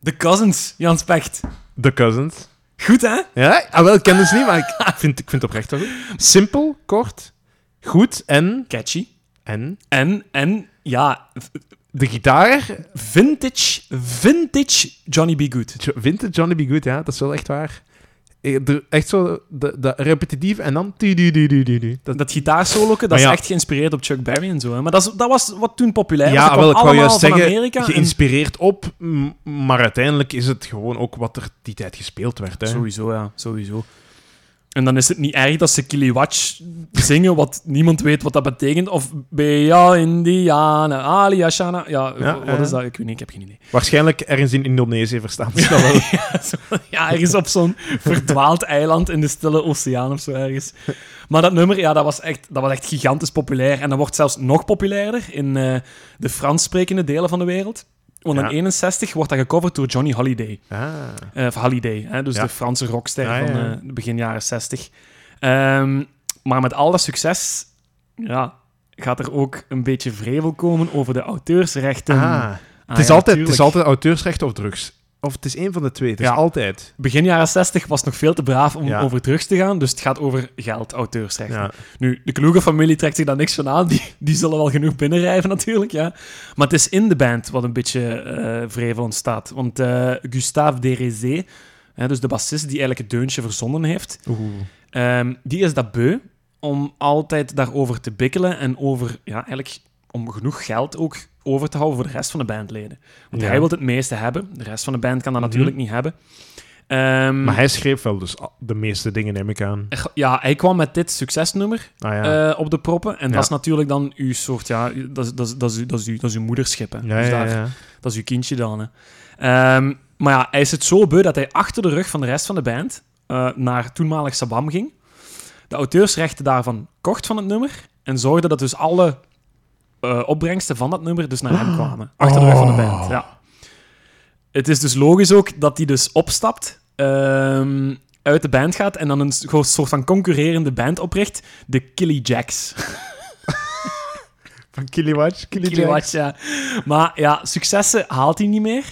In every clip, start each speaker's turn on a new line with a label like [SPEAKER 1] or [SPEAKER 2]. [SPEAKER 1] The Cousins, Jan Specht.
[SPEAKER 2] The Cousins.
[SPEAKER 1] Goed, hè?
[SPEAKER 2] Ja, ah, wel, ik ken dus niet, maar ik vind, ik vind het oprecht wel goed. Simpel, kort, goed en...
[SPEAKER 1] Catchy.
[SPEAKER 2] En?
[SPEAKER 1] En, en, ja, v-
[SPEAKER 2] De gitaar
[SPEAKER 1] vintage, vintage Johnny B. Good.
[SPEAKER 2] Jo- vindt het Johnny B. Good, ja, dat is wel echt waar. Eh, er- Echt zo, de- dat repetitief en dan... tu- du- du- du- du- du. Dat-
[SPEAKER 1] Dat, dat gitaarsoloke, dat
[SPEAKER 2] Maar ja.
[SPEAKER 1] is echt geïnspireerd op Chuck Berry en zo. Hè? Maar dat, is, dat was wat toen populair was.
[SPEAKER 2] Ja,
[SPEAKER 1] Dat
[SPEAKER 2] wel, ik
[SPEAKER 1] kwam
[SPEAKER 2] wou
[SPEAKER 1] allemaal
[SPEAKER 2] juist
[SPEAKER 1] van
[SPEAKER 2] zeggen,
[SPEAKER 1] Amerika. en-
[SPEAKER 2] geïnspireerd op, m- maar uiteindelijk is het gewoon ook wat er die tijd gespeeld werd. Hè.
[SPEAKER 1] Sowieso, ja, sowieso. En dan is het niet erg dat ze Kiliwatch zingen, wat niemand weet wat dat betekent. Of Bea Indiana, Ali Ashana. Ja,
[SPEAKER 2] Ja,
[SPEAKER 1] wat
[SPEAKER 2] ja.
[SPEAKER 1] is dat? Ik weet niet, ik heb geen idee.
[SPEAKER 2] Waarschijnlijk ergens in Indonesië verstaan ze dat wel.
[SPEAKER 1] ja, ergens op zo'n verdwaald eiland in de stille oceaan of zo ergens. Maar dat nummer, ja, dat was echt, dat was echt gigantisch populair. En dat wordt zelfs nog populairder in eh, de Frans sprekende delen van de wereld. Want
[SPEAKER 2] Ja.
[SPEAKER 1] in 61 wordt dat gecoverd door Johnny Holiday.
[SPEAKER 2] Ah.
[SPEAKER 1] Eh, Of Halliday, hè? dus
[SPEAKER 2] Ja.
[SPEAKER 1] de Franse rockster
[SPEAKER 2] Ja, ja,
[SPEAKER 1] van
[SPEAKER 2] ja.
[SPEAKER 1] eh, begin jaren 60. Ehm, maar met al dat succes ja, gaat er ook een beetje vrevel komen over de auteursrechten.
[SPEAKER 2] Ah.
[SPEAKER 1] Ah,
[SPEAKER 2] het, is
[SPEAKER 1] ja,
[SPEAKER 2] altijd, het is
[SPEAKER 1] tuurlijk.
[SPEAKER 2] altijd auteursrecht of drugs. Of het is één van de twee. Het
[SPEAKER 1] Ja.
[SPEAKER 2] is altijd.
[SPEAKER 1] Begin jaren 60 was nog veel te braaf om
[SPEAKER 2] Ja.
[SPEAKER 1] over drugs te gaan, dus het gaat over geld, auteursrechten.
[SPEAKER 2] Ja.
[SPEAKER 1] Nu, de Kloege-familie trekt zich daar niks van aan, die, die zullen wel genoeg binnenrijven natuurlijk, ja. Maar het is in de band wat een beetje eh vrevel ontstaat. Want eh Gustave Derezé, hè, dus de bassist die eigenlijk het deuntje verzonnen heeft,
[SPEAKER 2] Oeh.
[SPEAKER 1] Ehm, die is dat beu om altijd daarover te bikkelen en over, ja, eigenlijk om genoeg geld ook over te houden voor de rest van de bandleden. Want
[SPEAKER 2] Ja.
[SPEAKER 1] hij wil het meeste hebben, de rest van de band kan dat
[SPEAKER 2] Mhm.
[SPEAKER 1] natuurlijk niet hebben. Ehm,
[SPEAKER 2] Maar hij schreef wel dus al- de meeste dingen, neem ik aan.
[SPEAKER 1] er- Ja, hij kwam met dit succesnummer
[SPEAKER 2] Ah ja.
[SPEAKER 1] eh, op de proppen. En
[SPEAKER 2] Ja.
[SPEAKER 1] dat is natuurlijk dan uw soort, ja, dat, is- dat, is- dat, is uw- dat, is uw- dat is uw moederschip. Hè.
[SPEAKER 2] ja,
[SPEAKER 1] Dus
[SPEAKER 2] ja,
[SPEAKER 1] daar-
[SPEAKER 2] ja.
[SPEAKER 1] dat is uw kindje dan. Hè. Ehm, maar ja, hij is het zo beu dat hij achter de rug van de rest van de band eh, naar toenmalig Sabam ging. De auteursrechten daarvan kocht van het nummer en zorgde dat dus alle eh, opbrengsten van dat nummer dus naar hem kwamen. Achter de rug van de band, ja. Het is dus logisch ook dat hij dus opstapt, ehm, uit de band gaat en dan een s- gewoon soort van concurrerende band opricht, de Killy Jacks.
[SPEAKER 2] Van Kiliwatch,
[SPEAKER 1] Kiliwatch, ja. Maar ja, successen haalt hij niet meer.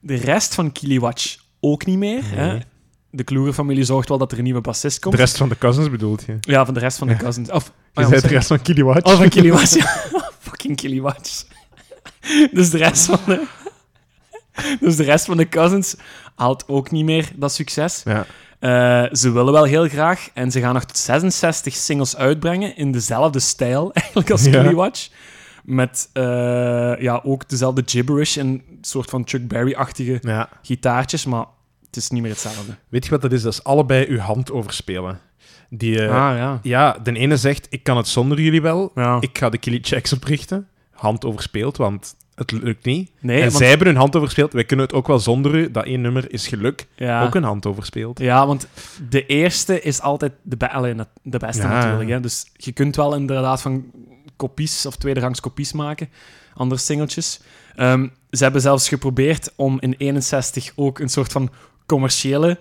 [SPEAKER 1] De rest van Kiliwatch ook niet meer. Hè?
[SPEAKER 2] Nee.
[SPEAKER 1] De Kloeger-familie zorgt wel dat er een nieuwe bassist
[SPEAKER 2] De
[SPEAKER 1] komt.
[SPEAKER 2] rest van de cousins bedoelt je. Je
[SPEAKER 1] Ja, van de rest van de cousins. Of, oh, ja,
[SPEAKER 2] zei de
[SPEAKER 1] sorry.
[SPEAKER 2] rest van Kiliwatch.
[SPEAKER 1] oh, van Kiliwatch, ja. Fucking Kiliwatch. dus de rest van de... Dus de rest van de cousins haalt ook niet meer dat succes.
[SPEAKER 2] Ja.
[SPEAKER 1] Eh, ze willen wel heel graag en ze gaan nog tot 66 singles uitbrengen in dezelfde stijl eigenlijk als
[SPEAKER 2] Ja.
[SPEAKER 1] Kiliwatch. Met eh, ja, ook dezelfde gibberish en soort van Chuck Berry-achtige
[SPEAKER 2] ja.
[SPEAKER 1] gitaartjes, maar het is niet meer hetzelfde.
[SPEAKER 2] Weet je wat dat is? Dat is allebei uw hand overspelen. Die, eh,
[SPEAKER 1] ja.
[SPEAKER 2] Ja, de ene zegt, ik kan het zonder jullie wel.
[SPEAKER 1] ja.
[SPEAKER 2] Ik ga de Killy Checks oprichten. Hand overspeeld, want het lukt niet.
[SPEAKER 1] nee,
[SPEAKER 2] en
[SPEAKER 1] want,
[SPEAKER 2] zij hebben hun hand overspeeld. Wij kunnen het ook wel zonder u. Dat één nummer is geluk.
[SPEAKER 1] ja,
[SPEAKER 2] Ook een hand overspeeld.
[SPEAKER 1] ja, want de eerste is altijd de, be- allee, na- de beste
[SPEAKER 2] Ja.
[SPEAKER 1] natuurlijk. Hè. Dus je kunt wel inderdaad van kopies of tweederangs kopies maken, andere singeltjes. Ehm, ze hebben zelfs geprobeerd om in 61 ook een soort van commerciële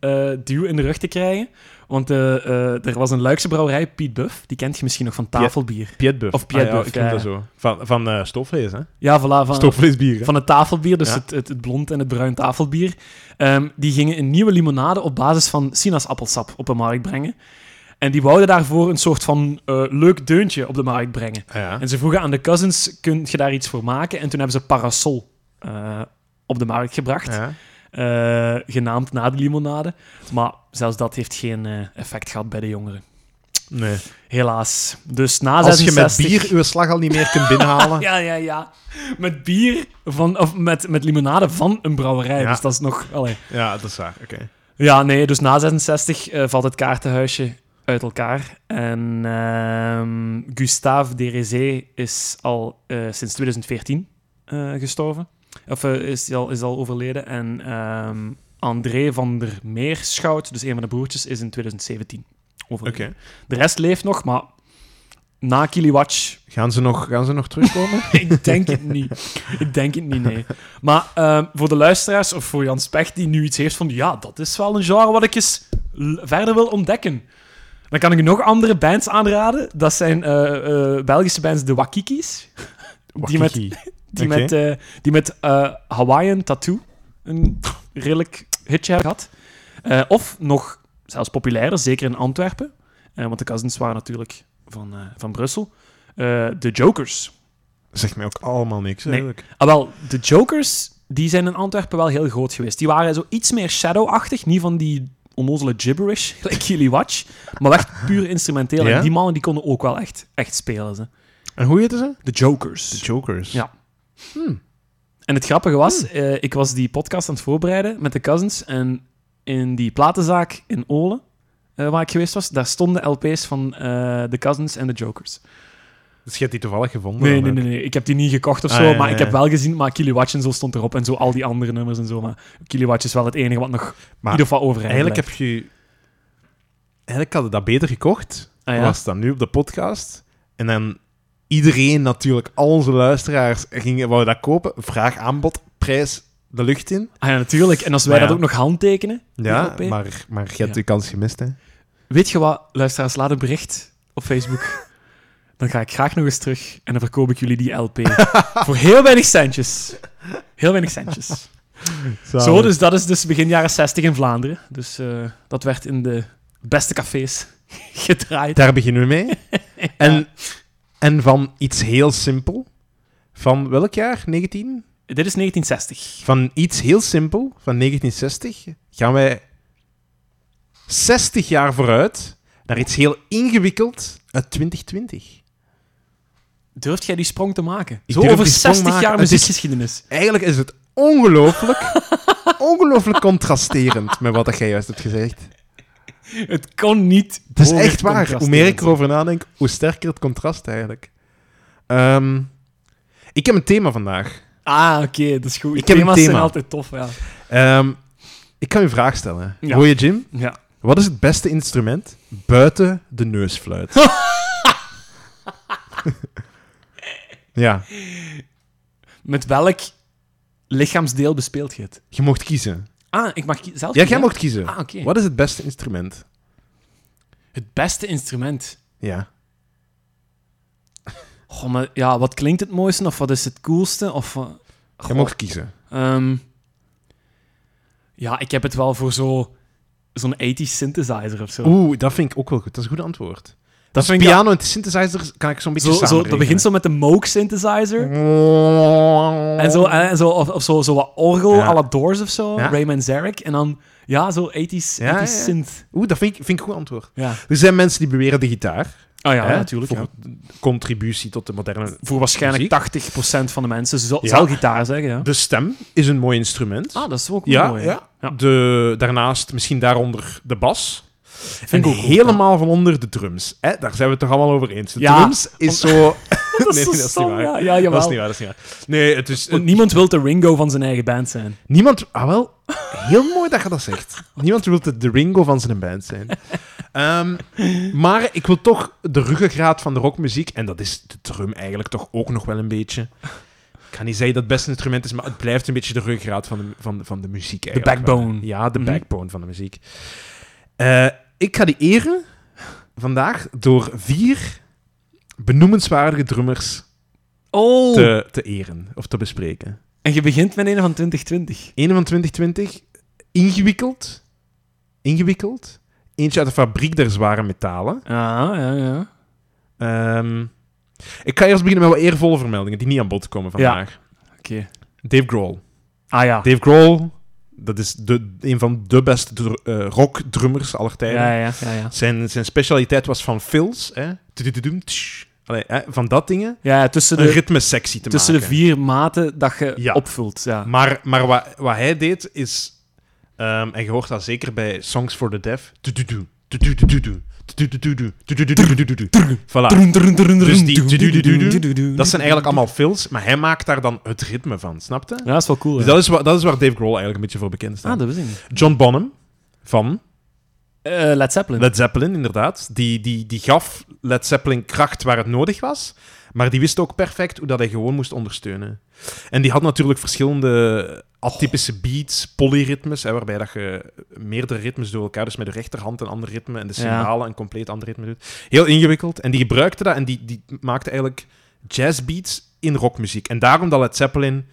[SPEAKER 1] eh, duw in de rug te krijgen. Want eh, eh, er was een Luikse brouwerij, Piet Buff, die kent je misschien nog van tafelbier.
[SPEAKER 2] Pietbuff.
[SPEAKER 1] Of Pietbuff,
[SPEAKER 2] Ah ja, ik noem
[SPEAKER 1] ja,
[SPEAKER 2] dat
[SPEAKER 1] ja.
[SPEAKER 2] zo. Van, van eh, stofvlees, hè?
[SPEAKER 1] Ja, voilà, van,
[SPEAKER 2] Stofvleesbier, hè?
[SPEAKER 1] van het tafelbier, dus
[SPEAKER 2] Ja.
[SPEAKER 1] het, het, het blond en het bruin tafelbier. Ehm, die gingen een nieuwe limonade op basis van sinaasappelsap op de markt brengen. En die wouden daarvoor een soort van eh, leuk deuntje op de markt brengen.
[SPEAKER 2] Ah, ja.
[SPEAKER 1] En ze vroegen aan de cousins, kun je daar iets voor maken? En toen hebben ze parasol eh, op de markt gebracht,
[SPEAKER 2] Ja.
[SPEAKER 1] eh, genaamd na de limonade. Maar zelfs dat heeft geen eh, effect gehad bij de jongeren.
[SPEAKER 2] Nee.
[SPEAKER 1] Helaas. Dus na
[SPEAKER 2] Als je met
[SPEAKER 1] 66
[SPEAKER 2] bier uw slag al niet meer kunt binnenhalen...
[SPEAKER 1] ja, ja, ja. Met bier van, of met, met limonade van een brouwerij.
[SPEAKER 2] Ja.
[SPEAKER 1] Dus dat is nog. Allee.
[SPEAKER 2] Ja, dat is waar. Oké.
[SPEAKER 1] Ja, nee, dus na 66 eh, valt het kaartenhuisje uit elkaar. En ehm, Gustave Derezé is al eh, sinds 2014 eh, gestorven. Of eh, is, al, is al overleden. En ehm, André van der Meerschout, dus een van de broertjes, is in 2017
[SPEAKER 2] Oké.
[SPEAKER 1] overleden. De rest leeft nog, maar na Kiliwatch
[SPEAKER 2] Gaan, ze nog- gaan ze nog terugkomen?
[SPEAKER 1] ik denk het niet. Ik denk het niet, nee. Maar ehm, voor de luisteraars of voor Jan Specht die nu iets heeft van... Ja, dat is wel een genre wat ik eens l- verder wil ontdekken. Dan kan ik u nog andere bands aanraden. Dat zijn eh, eh, Belgische bands, de Wakikis. Die met-
[SPEAKER 2] Wakiki.
[SPEAKER 1] Die
[SPEAKER 2] Oké.
[SPEAKER 1] met, eh, die met eh, Hawaiian Tattoo een redelijk hitje hebben gehad. Eh, of nog zelfs populairder, zeker in Antwerpen, eh, want de cousins waren natuurlijk van, eh, van Brussel, eh, de Jokers.
[SPEAKER 2] Zegt mij ook allemaal niks.
[SPEAKER 1] Nee.
[SPEAKER 2] eigenlijk.
[SPEAKER 1] Ah, wel, de Jokers die zijn in Antwerpen wel heel groot geweest. Die waren zo iets meer shadow-achtig, niet van die onnozele gibberish, gelijk jullie watch, maar echt puur instrumenteel.
[SPEAKER 2] Ja?
[SPEAKER 1] En die mannen die konden ook wel echt, echt spelen. Ze.
[SPEAKER 2] En hoe heette ze?
[SPEAKER 1] De Jokers.
[SPEAKER 2] De Jokers.
[SPEAKER 1] Ja.
[SPEAKER 2] Hmm.
[SPEAKER 1] En het grappige was, eh, ik was die podcast aan het voorbereiden met de cousins. En in die platenzaak in Olen, eh, waar ik geweest was, daar stonden LP's van eh, de cousins en de jokers.
[SPEAKER 2] Dus je hebt die toevallig gevonden?
[SPEAKER 1] Nee,
[SPEAKER 2] dan
[SPEAKER 1] nee,
[SPEAKER 2] ook?
[SPEAKER 1] nee, nee. Ik heb die niet gekocht of
[SPEAKER 2] Ah,
[SPEAKER 1] zo,
[SPEAKER 2] ja, ja,
[SPEAKER 1] maar ik
[SPEAKER 2] ja.
[SPEAKER 1] heb wel gezien, maar Kiliwatch en zo stond erop. En zo al die andere nummers en zo. Maar Kiliwatch is wel het enige wat nog in
[SPEAKER 2] Maar
[SPEAKER 1] ieder geval overeind
[SPEAKER 2] Eigenlijk heb je... Eigenlijk hadden dat beter gekocht.
[SPEAKER 1] blijft. Ah, ja.
[SPEAKER 2] Was dat nu op de podcast. En dan iedereen natuurlijk, al onze luisteraars, gingen, wou dat kopen. Vraag, aanbod, prijs, de lucht in.
[SPEAKER 1] Ah, ja, natuurlijk. En als wij
[SPEAKER 2] Maar ja.
[SPEAKER 1] dat ook nog handtekenen,
[SPEAKER 2] Ja,
[SPEAKER 1] die LP.
[SPEAKER 2] maar, maar je hebt
[SPEAKER 1] Ja.
[SPEAKER 2] je kans gemist, hè.
[SPEAKER 1] Weet je wat, luisteraars, laat een bericht op Facebook. Dan ga ik graag nog eens terug en dan verkoop ik jullie die LP. Voor heel weinig centjes. Heel weinig centjes. Zo, dus dat is dus begin jaren 60 in Vlaanderen. Dus eh, dat werd in de beste cafés gedraaid.
[SPEAKER 2] Daar beginnen we mee. en, en van iets heel simpel. Van welk jaar? 19?
[SPEAKER 1] Dit is 1960.
[SPEAKER 2] Van iets heel simpel, van 1960, gaan wij 60 jaar vooruit naar iets heel ingewikkeld uit 2020.
[SPEAKER 1] Durft jij die sprong te maken?
[SPEAKER 2] Ik
[SPEAKER 1] Zo
[SPEAKER 2] durf
[SPEAKER 1] over
[SPEAKER 2] die sprong
[SPEAKER 1] 60
[SPEAKER 2] maken.
[SPEAKER 1] jaar
[SPEAKER 2] Het is-
[SPEAKER 1] muziekgeschiedenis.
[SPEAKER 2] Eigenlijk is het ongelooflijk, ongelooflijk contrasterend met wat dat jij juist hebt gezegd.
[SPEAKER 1] Het kon niet.
[SPEAKER 2] Het is
[SPEAKER 1] hoger
[SPEAKER 2] echt waar. Hoe meer ik
[SPEAKER 1] contrasterend
[SPEAKER 2] erover nadenk, hoe sterker het contrast eigenlijk. Ehm, ik heb een thema vandaag.
[SPEAKER 1] zijn. Ah, oké, dat is goed.
[SPEAKER 2] Ik heb een
[SPEAKER 1] Thema's zijn
[SPEAKER 2] thema.
[SPEAKER 1] altijd tof, ja.
[SPEAKER 2] Ehm, ik kan u een vraag stellen.
[SPEAKER 1] Ja.
[SPEAKER 2] Hoor je, Jim?
[SPEAKER 1] ja.
[SPEAKER 2] Wat is het beste instrument buiten de neusfluit? ja,
[SPEAKER 1] Met welk lichaamsdeel bespeelt je het?
[SPEAKER 2] je mocht kiezen.
[SPEAKER 1] Ah, ik mag kie- zelf
[SPEAKER 2] Ja, jij
[SPEAKER 1] kiezen?
[SPEAKER 2] mocht kiezen.
[SPEAKER 1] Ah, oké.
[SPEAKER 2] Wat is het beste instrument?
[SPEAKER 1] Het beste instrument.
[SPEAKER 2] Ja.
[SPEAKER 1] Goh, maar ja, wat klinkt het mooiste of wat is het coolste? Of, eh,
[SPEAKER 2] Jij
[SPEAKER 1] goh,
[SPEAKER 2] mocht kiezen.
[SPEAKER 1] ehm, ja, ik heb het wel voor zo, zo'n 80 synthesizer of zo.
[SPEAKER 2] Oeh, dat vind ik ook wel goed. Dat is een goed antwoord.
[SPEAKER 1] dat vind ik
[SPEAKER 2] Piano en synthesizers kan ik zo'n beetje
[SPEAKER 1] zo, zo, dat
[SPEAKER 2] samenrekenen.
[SPEAKER 1] begint zo met de Moog synthesizer. En zo, en zo, of, of zo, zo wat orgel,
[SPEAKER 2] Ja.
[SPEAKER 1] à la Doors of zo.
[SPEAKER 2] Ja.
[SPEAKER 1] Ray Manzarek. En dan, ja, zo 80s,
[SPEAKER 2] Ja,
[SPEAKER 1] 80s
[SPEAKER 2] ja, ja.
[SPEAKER 1] synth.
[SPEAKER 2] Oeh, dat vind ik, vind ik een goed antwoord.
[SPEAKER 1] Ja.
[SPEAKER 2] Er zijn mensen die beweren de gitaar.
[SPEAKER 1] Oh ja,
[SPEAKER 2] hè,
[SPEAKER 1] natuurlijk.
[SPEAKER 2] Voor
[SPEAKER 1] ja.
[SPEAKER 2] de contributie tot de moderne...
[SPEAKER 1] Voor waarschijnlijk
[SPEAKER 2] Muziek.
[SPEAKER 1] 80% van de mensen. Ze zal,
[SPEAKER 2] Ja.
[SPEAKER 1] zal gitaar zeggen, ja.
[SPEAKER 2] De stem is een mooi instrument.
[SPEAKER 1] Ah, dat is ook wel
[SPEAKER 2] Ja,
[SPEAKER 1] mooi.
[SPEAKER 2] ja.
[SPEAKER 1] Ja.
[SPEAKER 2] De, daarnaast misschien daaronder de bas.
[SPEAKER 1] ik
[SPEAKER 2] en
[SPEAKER 1] ook goed,
[SPEAKER 2] helemaal van onder de drums. Hè? Daar zijn we het toch allemaal over eens. De
[SPEAKER 1] Ja,
[SPEAKER 2] drums is zo...
[SPEAKER 1] Dat
[SPEAKER 2] nee,
[SPEAKER 1] zo
[SPEAKER 2] nee, dat is niet
[SPEAKER 1] stom,
[SPEAKER 2] waar.
[SPEAKER 1] Ja, ja jawel.
[SPEAKER 2] dat is niet waar, dat is niet waar. Nee, het is...
[SPEAKER 1] Want niemand wil de Ringo van zijn eigen band zijn.
[SPEAKER 2] Niemand... Ah, wel. Heel mooi dat je dat zegt. Niemand wil de, de Ringo van zijn band zijn. Ehm, maar ik wil toch de ruggengraat van de rockmuziek... En dat is de drum eigenlijk toch ook nog wel een beetje... Ik ga niet zeggen dat het beste instrument is, maar het blijft een beetje de ruggengraat van de, van, van de muziek
[SPEAKER 1] De
[SPEAKER 2] eigenlijk. wel.
[SPEAKER 1] backbone.
[SPEAKER 2] Ja, de
[SPEAKER 1] Mhm.
[SPEAKER 2] backbone van de muziek. Eh, ik ga die eren vandaag door vier benoemenswaardige drummers
[SPEAKER 1] Oh!
[SPEAKER 2] te, te eren of te bespreken.
[SPEAKER 1] En je begint met een van 2020.
[SPEAKER 2] Eén van 2020, ingewikkeld. Ingewikkeld. Eentje uit de fabriek der zware metalen.
[SPEAKER 1] Ah, ja, ja.
[SPEAKER 2] Ehm, ik ga eerst beginnen met wat eervolle vermeldingen die niet aan bod komen vandaag.
[SPEAKER 1] Oké.
[SPEAKER 2] Dave Grohl.
[SPEAKER 1] Ah ja.
[SPEAKER 2] Dave Grohl, dat is de, een van de beste dr- eh, rockdrummers aller tijden.
[SPEAKER 1] Ja, ja, ja. ja.
[SPEAKER 2] Zijn, zijn specialiteit was van fills, hè? Tudududoem, tsch. Allee, hè, van dat dingen,
[SPEAKER 1] Ja, ja, tussen
[SPEAKER 2] een
[SPEAKER 1] de,
[SPEAKER 2] ritme sexy te
[SPEAKER 1] tussen de
[SPEAKER 2] maken.
[SPEAKER 1] vier maten dat je
[SPEAKER 2] Ja.
[SPEAKER 1] opvult. Ja.
[SPEAKER 2] Maar, maar wat, wat hij deed is, ehm, en je hoort dat zeker bij Songs for the Deaf, tududu, tududududu, tududududu, tudududududu. Voilà. Dus die tududududu, Dat zijn eigenlijk allemaal fills, maar hij maakt daar dan het ritme van, snap je?
[SPEAKER 1] Ja, dat is wel cool.
[SPEAKER 2] Dus
[SPEAKER 1] ja.
[SPEAKER 2] dat is, wa- dat is waar Dave Grohl eigenlijk een beetje voor bekend
[SPEAKER 1] Ah,
[SPEAKER 2] staat.
[SPEAKER 1] dat wist ik niet.
[SPEAKER 2] John Bonham van
[SPEAKER 1] Eh, Led Zeppelin.
[SPEAKER 2] Led Zeppelin, inderdaad. Die, die, die gaf Led Zeppelin kracht waar het nodig was. Maar die wist ook perfect hoe dat hij gewoon moest ondersteunen. En die had natuurlijk verschillende
[SPEAKER 1] Oh.
[SPEAKER 2] atypische beats, polyritmes, hè, waarbij dat je meerdere ritmes door elkaar, dus met de rechterhand een ander ritme en de
[SPEAKER 1] Ja.
[SPEAKER 2] cymbalen een compleet ander ritme doet. Heel ingewikkeld. En die gebruikte dat en die, die maakte eigenlijk jazzbeats in rockmuziek. En daarom dat Led Zeppelin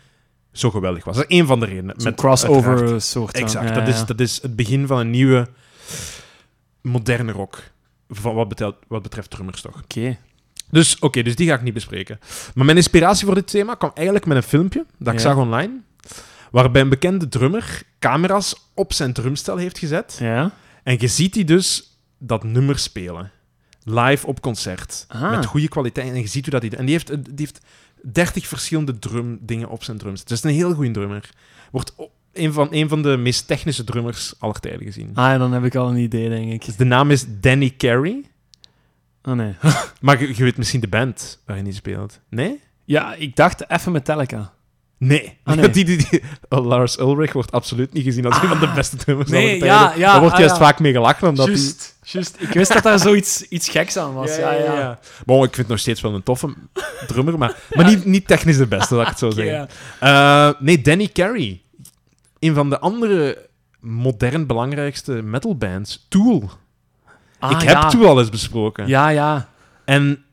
[SPEAKER 2] zo geweldig was. Dat is één van de redenen.
[SPEAKER 1] Zo'n
[SPEAKER 2] Met, uiteraard-
[SPEAKER 1] crossover soort van.
[SPEAKER 2] Exact,
[SPEAKER 1] Ja,
[SPEAKER 2] dat, is,
[SPEAKER 1] ja.
[SPEAKER 2] dat is het begin van een nieuwe moderne rock. Van wat, betreft, wat betreft drummers toch.
[SPEAKER 1] Oké.
[SPEAKER 2] Dus oké, dus die ga ik niet bespreken. Maar mijn inspiratie voor dit thema kwam eigenlijk met een filmpje dat ik
[SPEAKER 1] Ja.
[SPEAKER 2] zag online. Waarbij een bekende drummer camera's op zijn drumstel heeft gezet.
[SPEAKER 1] Ja.
[SPEAKER 2] En je ziet die dus dat nummer spelen. Live op concert.
[SPEAKER 1] Ah.
[SPEAKER 2] Met goede kwaliteit. En je ziet hoe dat hij... En die heeft, eh, die heeft 30 verschillende drumdingen op zijn drums. Dus een heel goede drummer. Wordt o- een van, een van de meest technische drummers aller tijden gezien.
[SPEAKER 1] Ah, ja, dan heb ik al een idee, denk ik.
[SPEAKER 2] Dus de naam is Danny Carey.
[SPEAKER 1] Oh nee.
[SPEAKER 2] Maar je, je weet misschien de band waarin hij speelt. Nee?
[SPEAKER 1] Ja, ik dacht even Metallica.
[SPEAKER 2] Nee.
[SPEAKER 1] Ah, nee.
[SPEAKER 2] Die, die, die- oh, Lars Ulrich wordt absoluut niet gezien als een van de beste drummers
[SPEAKER 1] Nee,
[SPEAKER 2] aller tijden.
[SPEAKER 1] ja, ja,
[SPEAKER 2] Daar wordt
[SPEAKER 1] ah,
[SPEAKER 2] juist
[SPEAKER 1] ja.
[SPEAKER 2] vaak mee gelachen. Omdat die-
[SPEAKER 1] Juist. Ik wist dat daar zoiets iets geks aan was. Ja, ja.
[SPEAKER 2] Maar ik vind het nog steeds wel een toffe drummer, maar, maar niet, niet technisch de beste, laat ik het zo zeggen.
[SPEAKER 1] Ja.
[SPEAKER 2] Eh, nee, Danny Carey. Een van de andere modern belangrijkste metalbands. Tool.
[SPEAKER 1] Ah,
[SPEAKER 2] ik heb
[SPEAKER 1] ja.
[SPEAKER 2] Tool al eens besproken.
[SPEAKER 1] Ja, ja.
[SPEAKER 2] En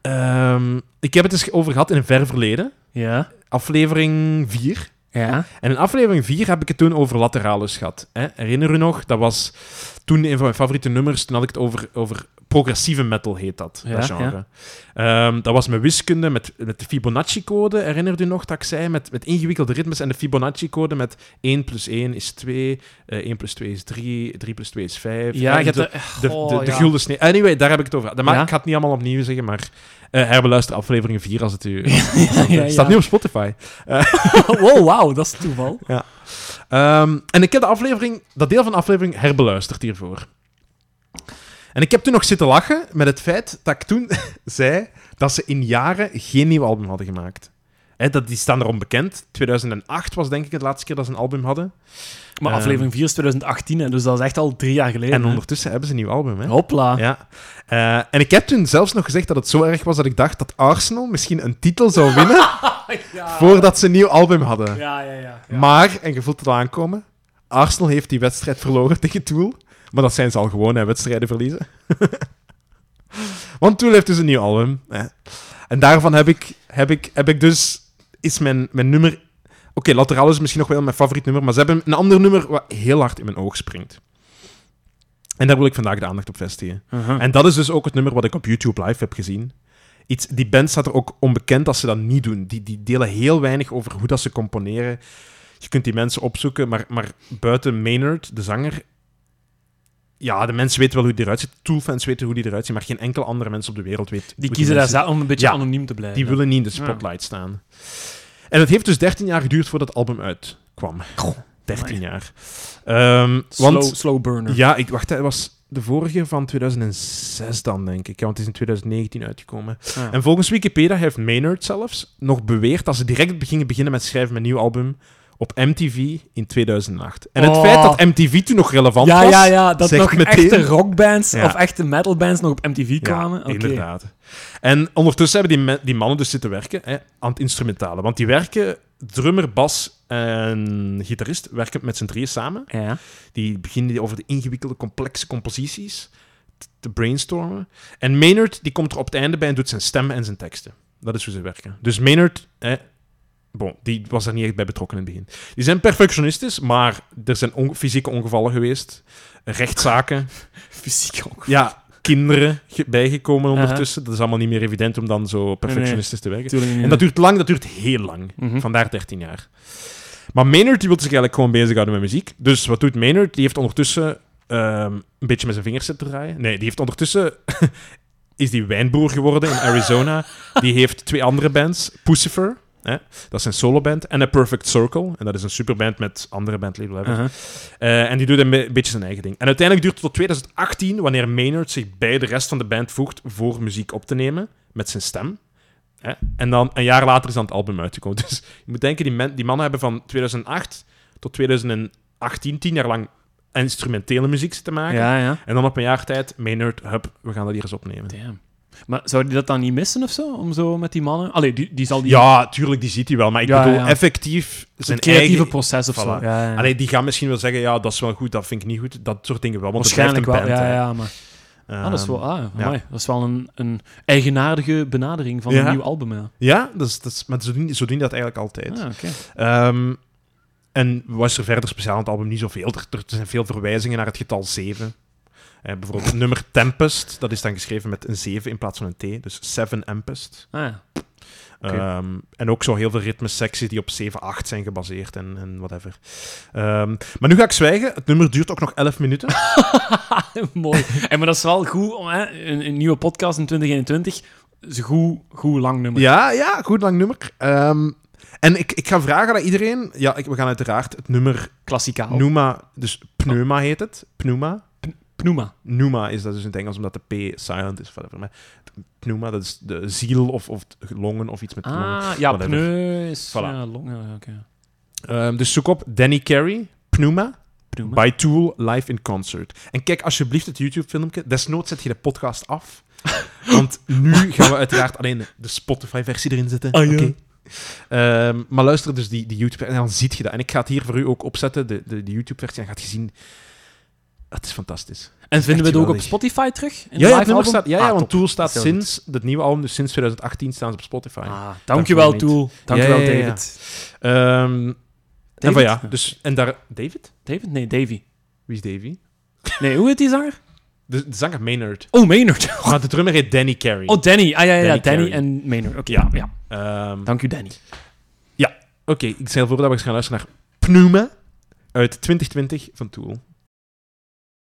[SPEAKER 2] ehm, ik heb het eens over gehad in een ver verleden.
[SPEAKER 1] Ja.
[SPEAKER 2] Aflevering 4.
[SPEAKER 1] Ja.
[SPEAKER 2] En in aflevering 4 heb ik het toen over Lateralus gehad. Hè? Herinner u nog? Dat was toen een van mijn favoriete nummers. Toen had ik het over, over progressieve metal, heet dat, dat
[SPEAKER 1] Ja,
[SPEAKER 2] genre. Ehm, dat was met wiskunde, met, met de Fibonacci-code. Herinnert u nog dat ik zei? Met, met ingewikkelde ritmes en de Fibonacci-code met 1 plus 1 is 2, eh, 1 plus 2 is 3, 3 plus 2 is 5.
[SPEAKER 1] Ja,
[SPEAKER 2] Eh,
[SPEAKER 1] je hebt
[SPEAKER 2] de,
[SPEAKER 1] er-
[SPEAKER 2] de,
[SPEAKER 1] Goh,
[SPEAKER 2] de, de
[SPEAKER 1] Oh, ja.
[SPEAKER 2] gulden snee. Anyway, daar heb ik het over. Dat maak,
[SPEAKER 1] Ja.
[SPEAKER 2] Ik ga het niet allemaal opnieuw zeggen, maar eh herbeluister aflevering 4 als het u...
[SPEAKER 1] ja,
[SPEAKER 2] staat
[SPEAKER 1] ja.
[SPEAKER 2] nu op Spotify.
[SPEAKER 1] wow, wauw, dat is toeval.
[SPEAKER 2] Ehm, en ik heb de aflevering, dat deel van de aflevering herbeluisterd hiervoor. En ik heb toen nog zitten lachen met het feit dat ik toen zei dat ze in jaren geen nieuw album hadden gemaakt. Hè, dat, die staan erom bekend. 2008 was denk ik het laatste keer dat ze een album hadden.
[SPEAKER 1] Maar
[SPEAKER 2] Ehm.
[SPEAKER 1] aflevering 4 is 2018, hè, dus dat is echt al drie jaar geleden.
[SPEAKER 2] En
[SPEAKER 1] hè.
[SPEAKER 2] ondertussen hebben ze een nieuw album. Hè?
[SPEAKER 1] Hopla.
[SPEAKER 2] Ja. Eh, en ik heb toen zelfs nog gezegd dat het zo erg was dat ik dacht dat Arsenal misschien een titel zou winnen
[SPEAKER 1] Ja.
[SPEAKER 2] voordat ze een nieuw album hadden.
[SPEAKER 1] Ja, ja, ja.
[SPEAKER 2] Maar, en je voelt het al aankomen, Arsenal heeft die wedstrijd verloren tegen Tool. Maar dat zijn ze al gewoon, hè, wedstrijden verliezen. Want Tool heeft dus een nieuw album. Hè. En daarvan heb ik, heb ik, heb ik dus... Is mijn, mijn nummer... Oké, Lateraal is misschien nog wel mijn favoriet nummer, maar ze hebben een ander nummer wat heel hard in mijn oog springt. En daar wil ik vandaag de aandacht op vestigen.
[SPEAKER 1] Uh-huh.
[SPEAKER 2] En dat is dus ook het nummer wat ik op YouTube live heb gezien. Iets, die band staat er ook onbekend als ze dat niet doen. Die, die delen heel weinig over hoe dat ze componeren. Je kunt die mensen opzoeken, maar, maar buiten Maynard, de zanger... Ja, de mensen weten wel hoe die eruit ziet. Toolfans weten hoe die eruit ziet, maar geen enkele andere mens op de wereld weet... hoe
[SPEAKER 1] Die kiezen daar
[SPEAKER 2] mensen-
[SPEAKER 1] zelf om een beetje
[SPEAKER 2] Ja.
[SPEAKER 1] anoniem te blijven.
[SPEAKER 2] Die willen niet in de
[SPEAKER 1] Ja.
[SPEAKER 2] spotlight staan. En het heeft dus 13 jaar geduurd voordat het album uitkwam.
[SPEAKER 1] Goh,
[SPEAKER 2] 13 jaar. Ehm,
[SPEAKER 1] slow,
[SPEAKER 2] want
[SPEAKER 1] slow burner.
[SPEAKER 2] ja, ik wacht, hè, het was de vorige van 2006 dan, denk ik. Ja, want het is in 2019 uitgekomen.
[SPEAKER 1] Ah.
[SPEAKER 2] En volgens Wikipedia heeft Maynard zelfs nog beweerd dat ze direct begingen beginnen met schrijven met een nieuw album op MTV in 2008. En het
[SPEAKER 1] Oh.
[SPEAKER 2] feit dat MTV toen nog relevant
[SPEAKER 1] ja,
[SPEAKER 2] was...
[SPEAKER 1] ja, ja, dat
[SPEAKER 2] zegt
[SPEAKER 1] nog
[SPEAKER 2] meteen-
[SPEAKER 1] echte rockbands
[SPEAKER 2] Ja.
[SPEAKER 1] of echte metalbands nog op MTV kwamen. Oké.
[SPEAKER 2] inderdaad. En ondertussen hebben die, me- die mannen dus zitten werken hè, aan het instrumentale. Want die werken, drummer, bas en gitarist, werken met z'n drieën samen.
[SPEAKER 1] Ja.
[SPEAKER 2] Die beginnen over de ingewikkelde, complexe composities t- te brainstormen. En Maynard die komt er op het einde bij en doet zijn stemmen en zijn teksten. Dat is hoe ze werken. Dus Maynard, hè, bon, die was er niet echt bij betrokken in het begin. Die zijn perfectionistisch, maar er zijn onge- fysieke ongevallen geweest. Rechtszaken,
[SPEAKER 1] Fysiek ook.
[SPEAKER 2] ja, kinderen ge- bijgekomen
[SPEAKER 1] Aha.
[SPEAKER 2] ondertussen. Dat is allemaal niet meer evident om dan zo perfectionistisch te werken.
[SPEAKER 1] Tuurlijk niet.
[SPEAKER 2] En dat duurt lang, dat duurt heel lang.
[SPEAKER 1] Mhm.
[SPEAKER 2] Vandaar 13 jaar. Maar Maynard die wil zich eigenlijk gewoon bezighouden met muziek. Dus wat doet Maynard? Die heeft ondertussen ehm, een beetje met zijn vingers zitten draaien. Nee, die heeft ondertussen... is die wijnboer geworden in Arizona. die heeft twee andere bands. Pussifer, hè? dat is een soloband. En A Perfect Circle. En dat is een superband met andere bandleden. hebben.
[SPEAKER 1] Uh-huh.
[SPEAKER 2] Eh, en die doet een be- beetje zijn eigen ding. En uiteindelijk duurt het tot 2018, wanneer Maynard zich bij de rest van de band voegt voor muziek op te nemen met zijn stem. Hè? En dan een jaar later is dan het album uitgekomen. Dus je moet denken, die, men- die mannen hebben van 2008 tot 2018, tien jaar lang instrumentele muziek zitten maken.
[SPEAKER 1] Ja, ja.
[SPEAKER 2] En dan op een jaar tijd, Maynard, hup, we gaan dat hier eens opnemen.
[SPEAKER 1] Damn. Maar zou die dat dan niet missen of zo? Om zo met die mannen? Allee, die, die zal die...
[SPEAKER 2] Ja, tuurlijk, die ziet hij wel. Maar ik
[SPEAKER 1] Ja,
[SPEAKER 2] bedoel,
[SPEAKER 1] ja.
[SPEAKER 2] effectief zijn
[SPEAKER 1] het creatieve
[SPEAKER 2] eigen...
[SPEAKER 1] proces of
[SPEAKER 2] Voilà.
[SPEAKER 1] zo. Ja, ja, ja.
[SPEAKER 2] Allee, die gaan misschien wel zeggen, ja, dat is wel goed, dat vind ik niet goed. Dat soort dingen wel, want het blijft
[SPEAKER 1] Waarschijnlijk
[SPEAKER 2] een
[SPEAKER 1] wel.
[SPEAKER 2] band,
[SPEAKER 1] Ja,
[SPEAKER 2] hè.
[SPEAKER 1] ja, maar... Ah, dat is wel,
[SPEAKER 2] Ehm,
[SPEAKER 1] ah,
[SPEAKER 2] ja.
[SPEAKER 1] amai. Dat is wel een, een eigenaardige benadering van
[SPEAKER 2] Ja.
[SPEAKER 1] een nieuw album. Ja.
[SPEAKER 2] Ja, dat is, dat is, maar zo doen, zo doen die dat eigenlijk altijd.
[SPEAKER 1] Ah, oké.
[SPEAKER 2] Ehm, en was er verder speciaal aan het album niet zoveel. Er, er zijn veel verwijzingen naar het getal 7. Eh, bijvoorbeeld het nummer Tempest, dat is dan geschreven met een 7 in plaats van een T. Dus 7 Tempest.
[SPEAKER 1] Ah, ja. Oké.
[SPEAKER 2] Ehm, en ook zo heel veel ritmesecties die op 7, 8 zijn gebaseerd en, en whatever. Ehm, maar nu ga ik zwijgen. Het nummer duurt ook nog 11 minuten.
[SPEAKER 1] Mooi. En maar dat is wel goed om hè, een, een nieuwe podcast in 2021 is een goed, goed lang nummer.
[SPEAKER 2] Ja, ja, goed lang nummer. Ehm, en ik, ik ga vragen aan iedereen. Ja, ik, we gaan uiteraard het nummer
[SPEAKER 1] Klassikaal.
[SPEAKER 2] Pneuma, dus
[SPEAKER 1] Oh.
[SPEAKER 2] Pneuma heet het. Pneuma.
[SPEAKER 1] Pneuma.
[SPEAKER 2] Pneuma is dat dus in het Engels, omdat de P silent is. Whatever. Maar pneuma, dat is de ziel of, of de longen of iets met longen.
[SPEAKER 1] Ah, ja,
[SPEAKER 2] Whatever.
[SPEAKER 1] pneu is...
[SPEAKER 2] Voilà.
[SPEAKER 1] Ja, long, ja, oké.
[SPEAKER 2] Ehm, dus zoek op Danny Carey, Pneuma,
[SPEAKER 1] Pneuma.
[SPEAKER 2] by Tool, live in concert. En kijk alsjeblieft het YouTube-filmpje. Desnoods zet je de podcast af. Want nu gaan we uiteraard alleen de Spotify-versie erin zetten.
[SPEAKER 1] Ah, ja.
[SPEAKER 2] Oké. Ehm, maar luister dus die, die YouTube en dan ziet je dat. En ik ga het hier voor u ook opzetten, de, de, de YouTube-versie. En gaat je zien, het is fantastisch.
[SPEAKER 1] En vinden we het ook op
[SPEAKER 2] geweldig.
[SPEAKER 1] Spotify terug? In de
[SPEAKER 2] Ja, ja, het
[SPEAKER 1] live
[SPEAKER 2] nummer
[SPEAKER 1] album?
[SPEAKER 2] staat, ja,
[SPEAKER 1] Ah,
[SPEAKER 2] ja
[SPEAKER 1] top.
[SPEAKER 2] want Tool staat
[SPEAKER 1] Dat is heel
[SPEAKER 2] sinds het nieuwe album, dus sinds 2018, staan ze op Spotify.
[SPEAKER 1] Ah, dankjewel,
[SPEAKER 2] Dankjewel,
[SPEAKER 1] Tool. Dankjewel,
[SPEAKER 2] Ja, ja, ja.
[SPEAKER 1] David.
[SPEAKER 2] Ehm, en
[SPEAKER 1] David?
[SPEAKER 2] van ja, dus, en daar... David?
[SPEAKER 1] David? Nee, Davy.
[SPEAKER 2] Wie is Davy?
[SPEAKER 1] Nee, hoe heet die zanger?
[SPEAKER 2] De, de zanger Maynard.
[SPEAKER 1] Oh, Maynard.
[SPEAKER 2] Maar de drummer heet Danny Carey.
[SPEAKER 1] Oh, Danny. Ah, ja, ja, ja,
[SPEAKER 2] Danny
[SPEAKER 1] Danny
[SPEAKER 2] Carey.
[SPEAKER 1] en Maynard. Oké,
[SPEAKER 2] Ja.
[SPEAKER 1] ja. ja.
[SPEAKER 2] Ehm,
[SPEAKER 1] Dank u, Danny.
[SPEAKER 2] Oké, ik stel voor dat we eens gaan luisteren naar Pneuma uit 2020 van Tool.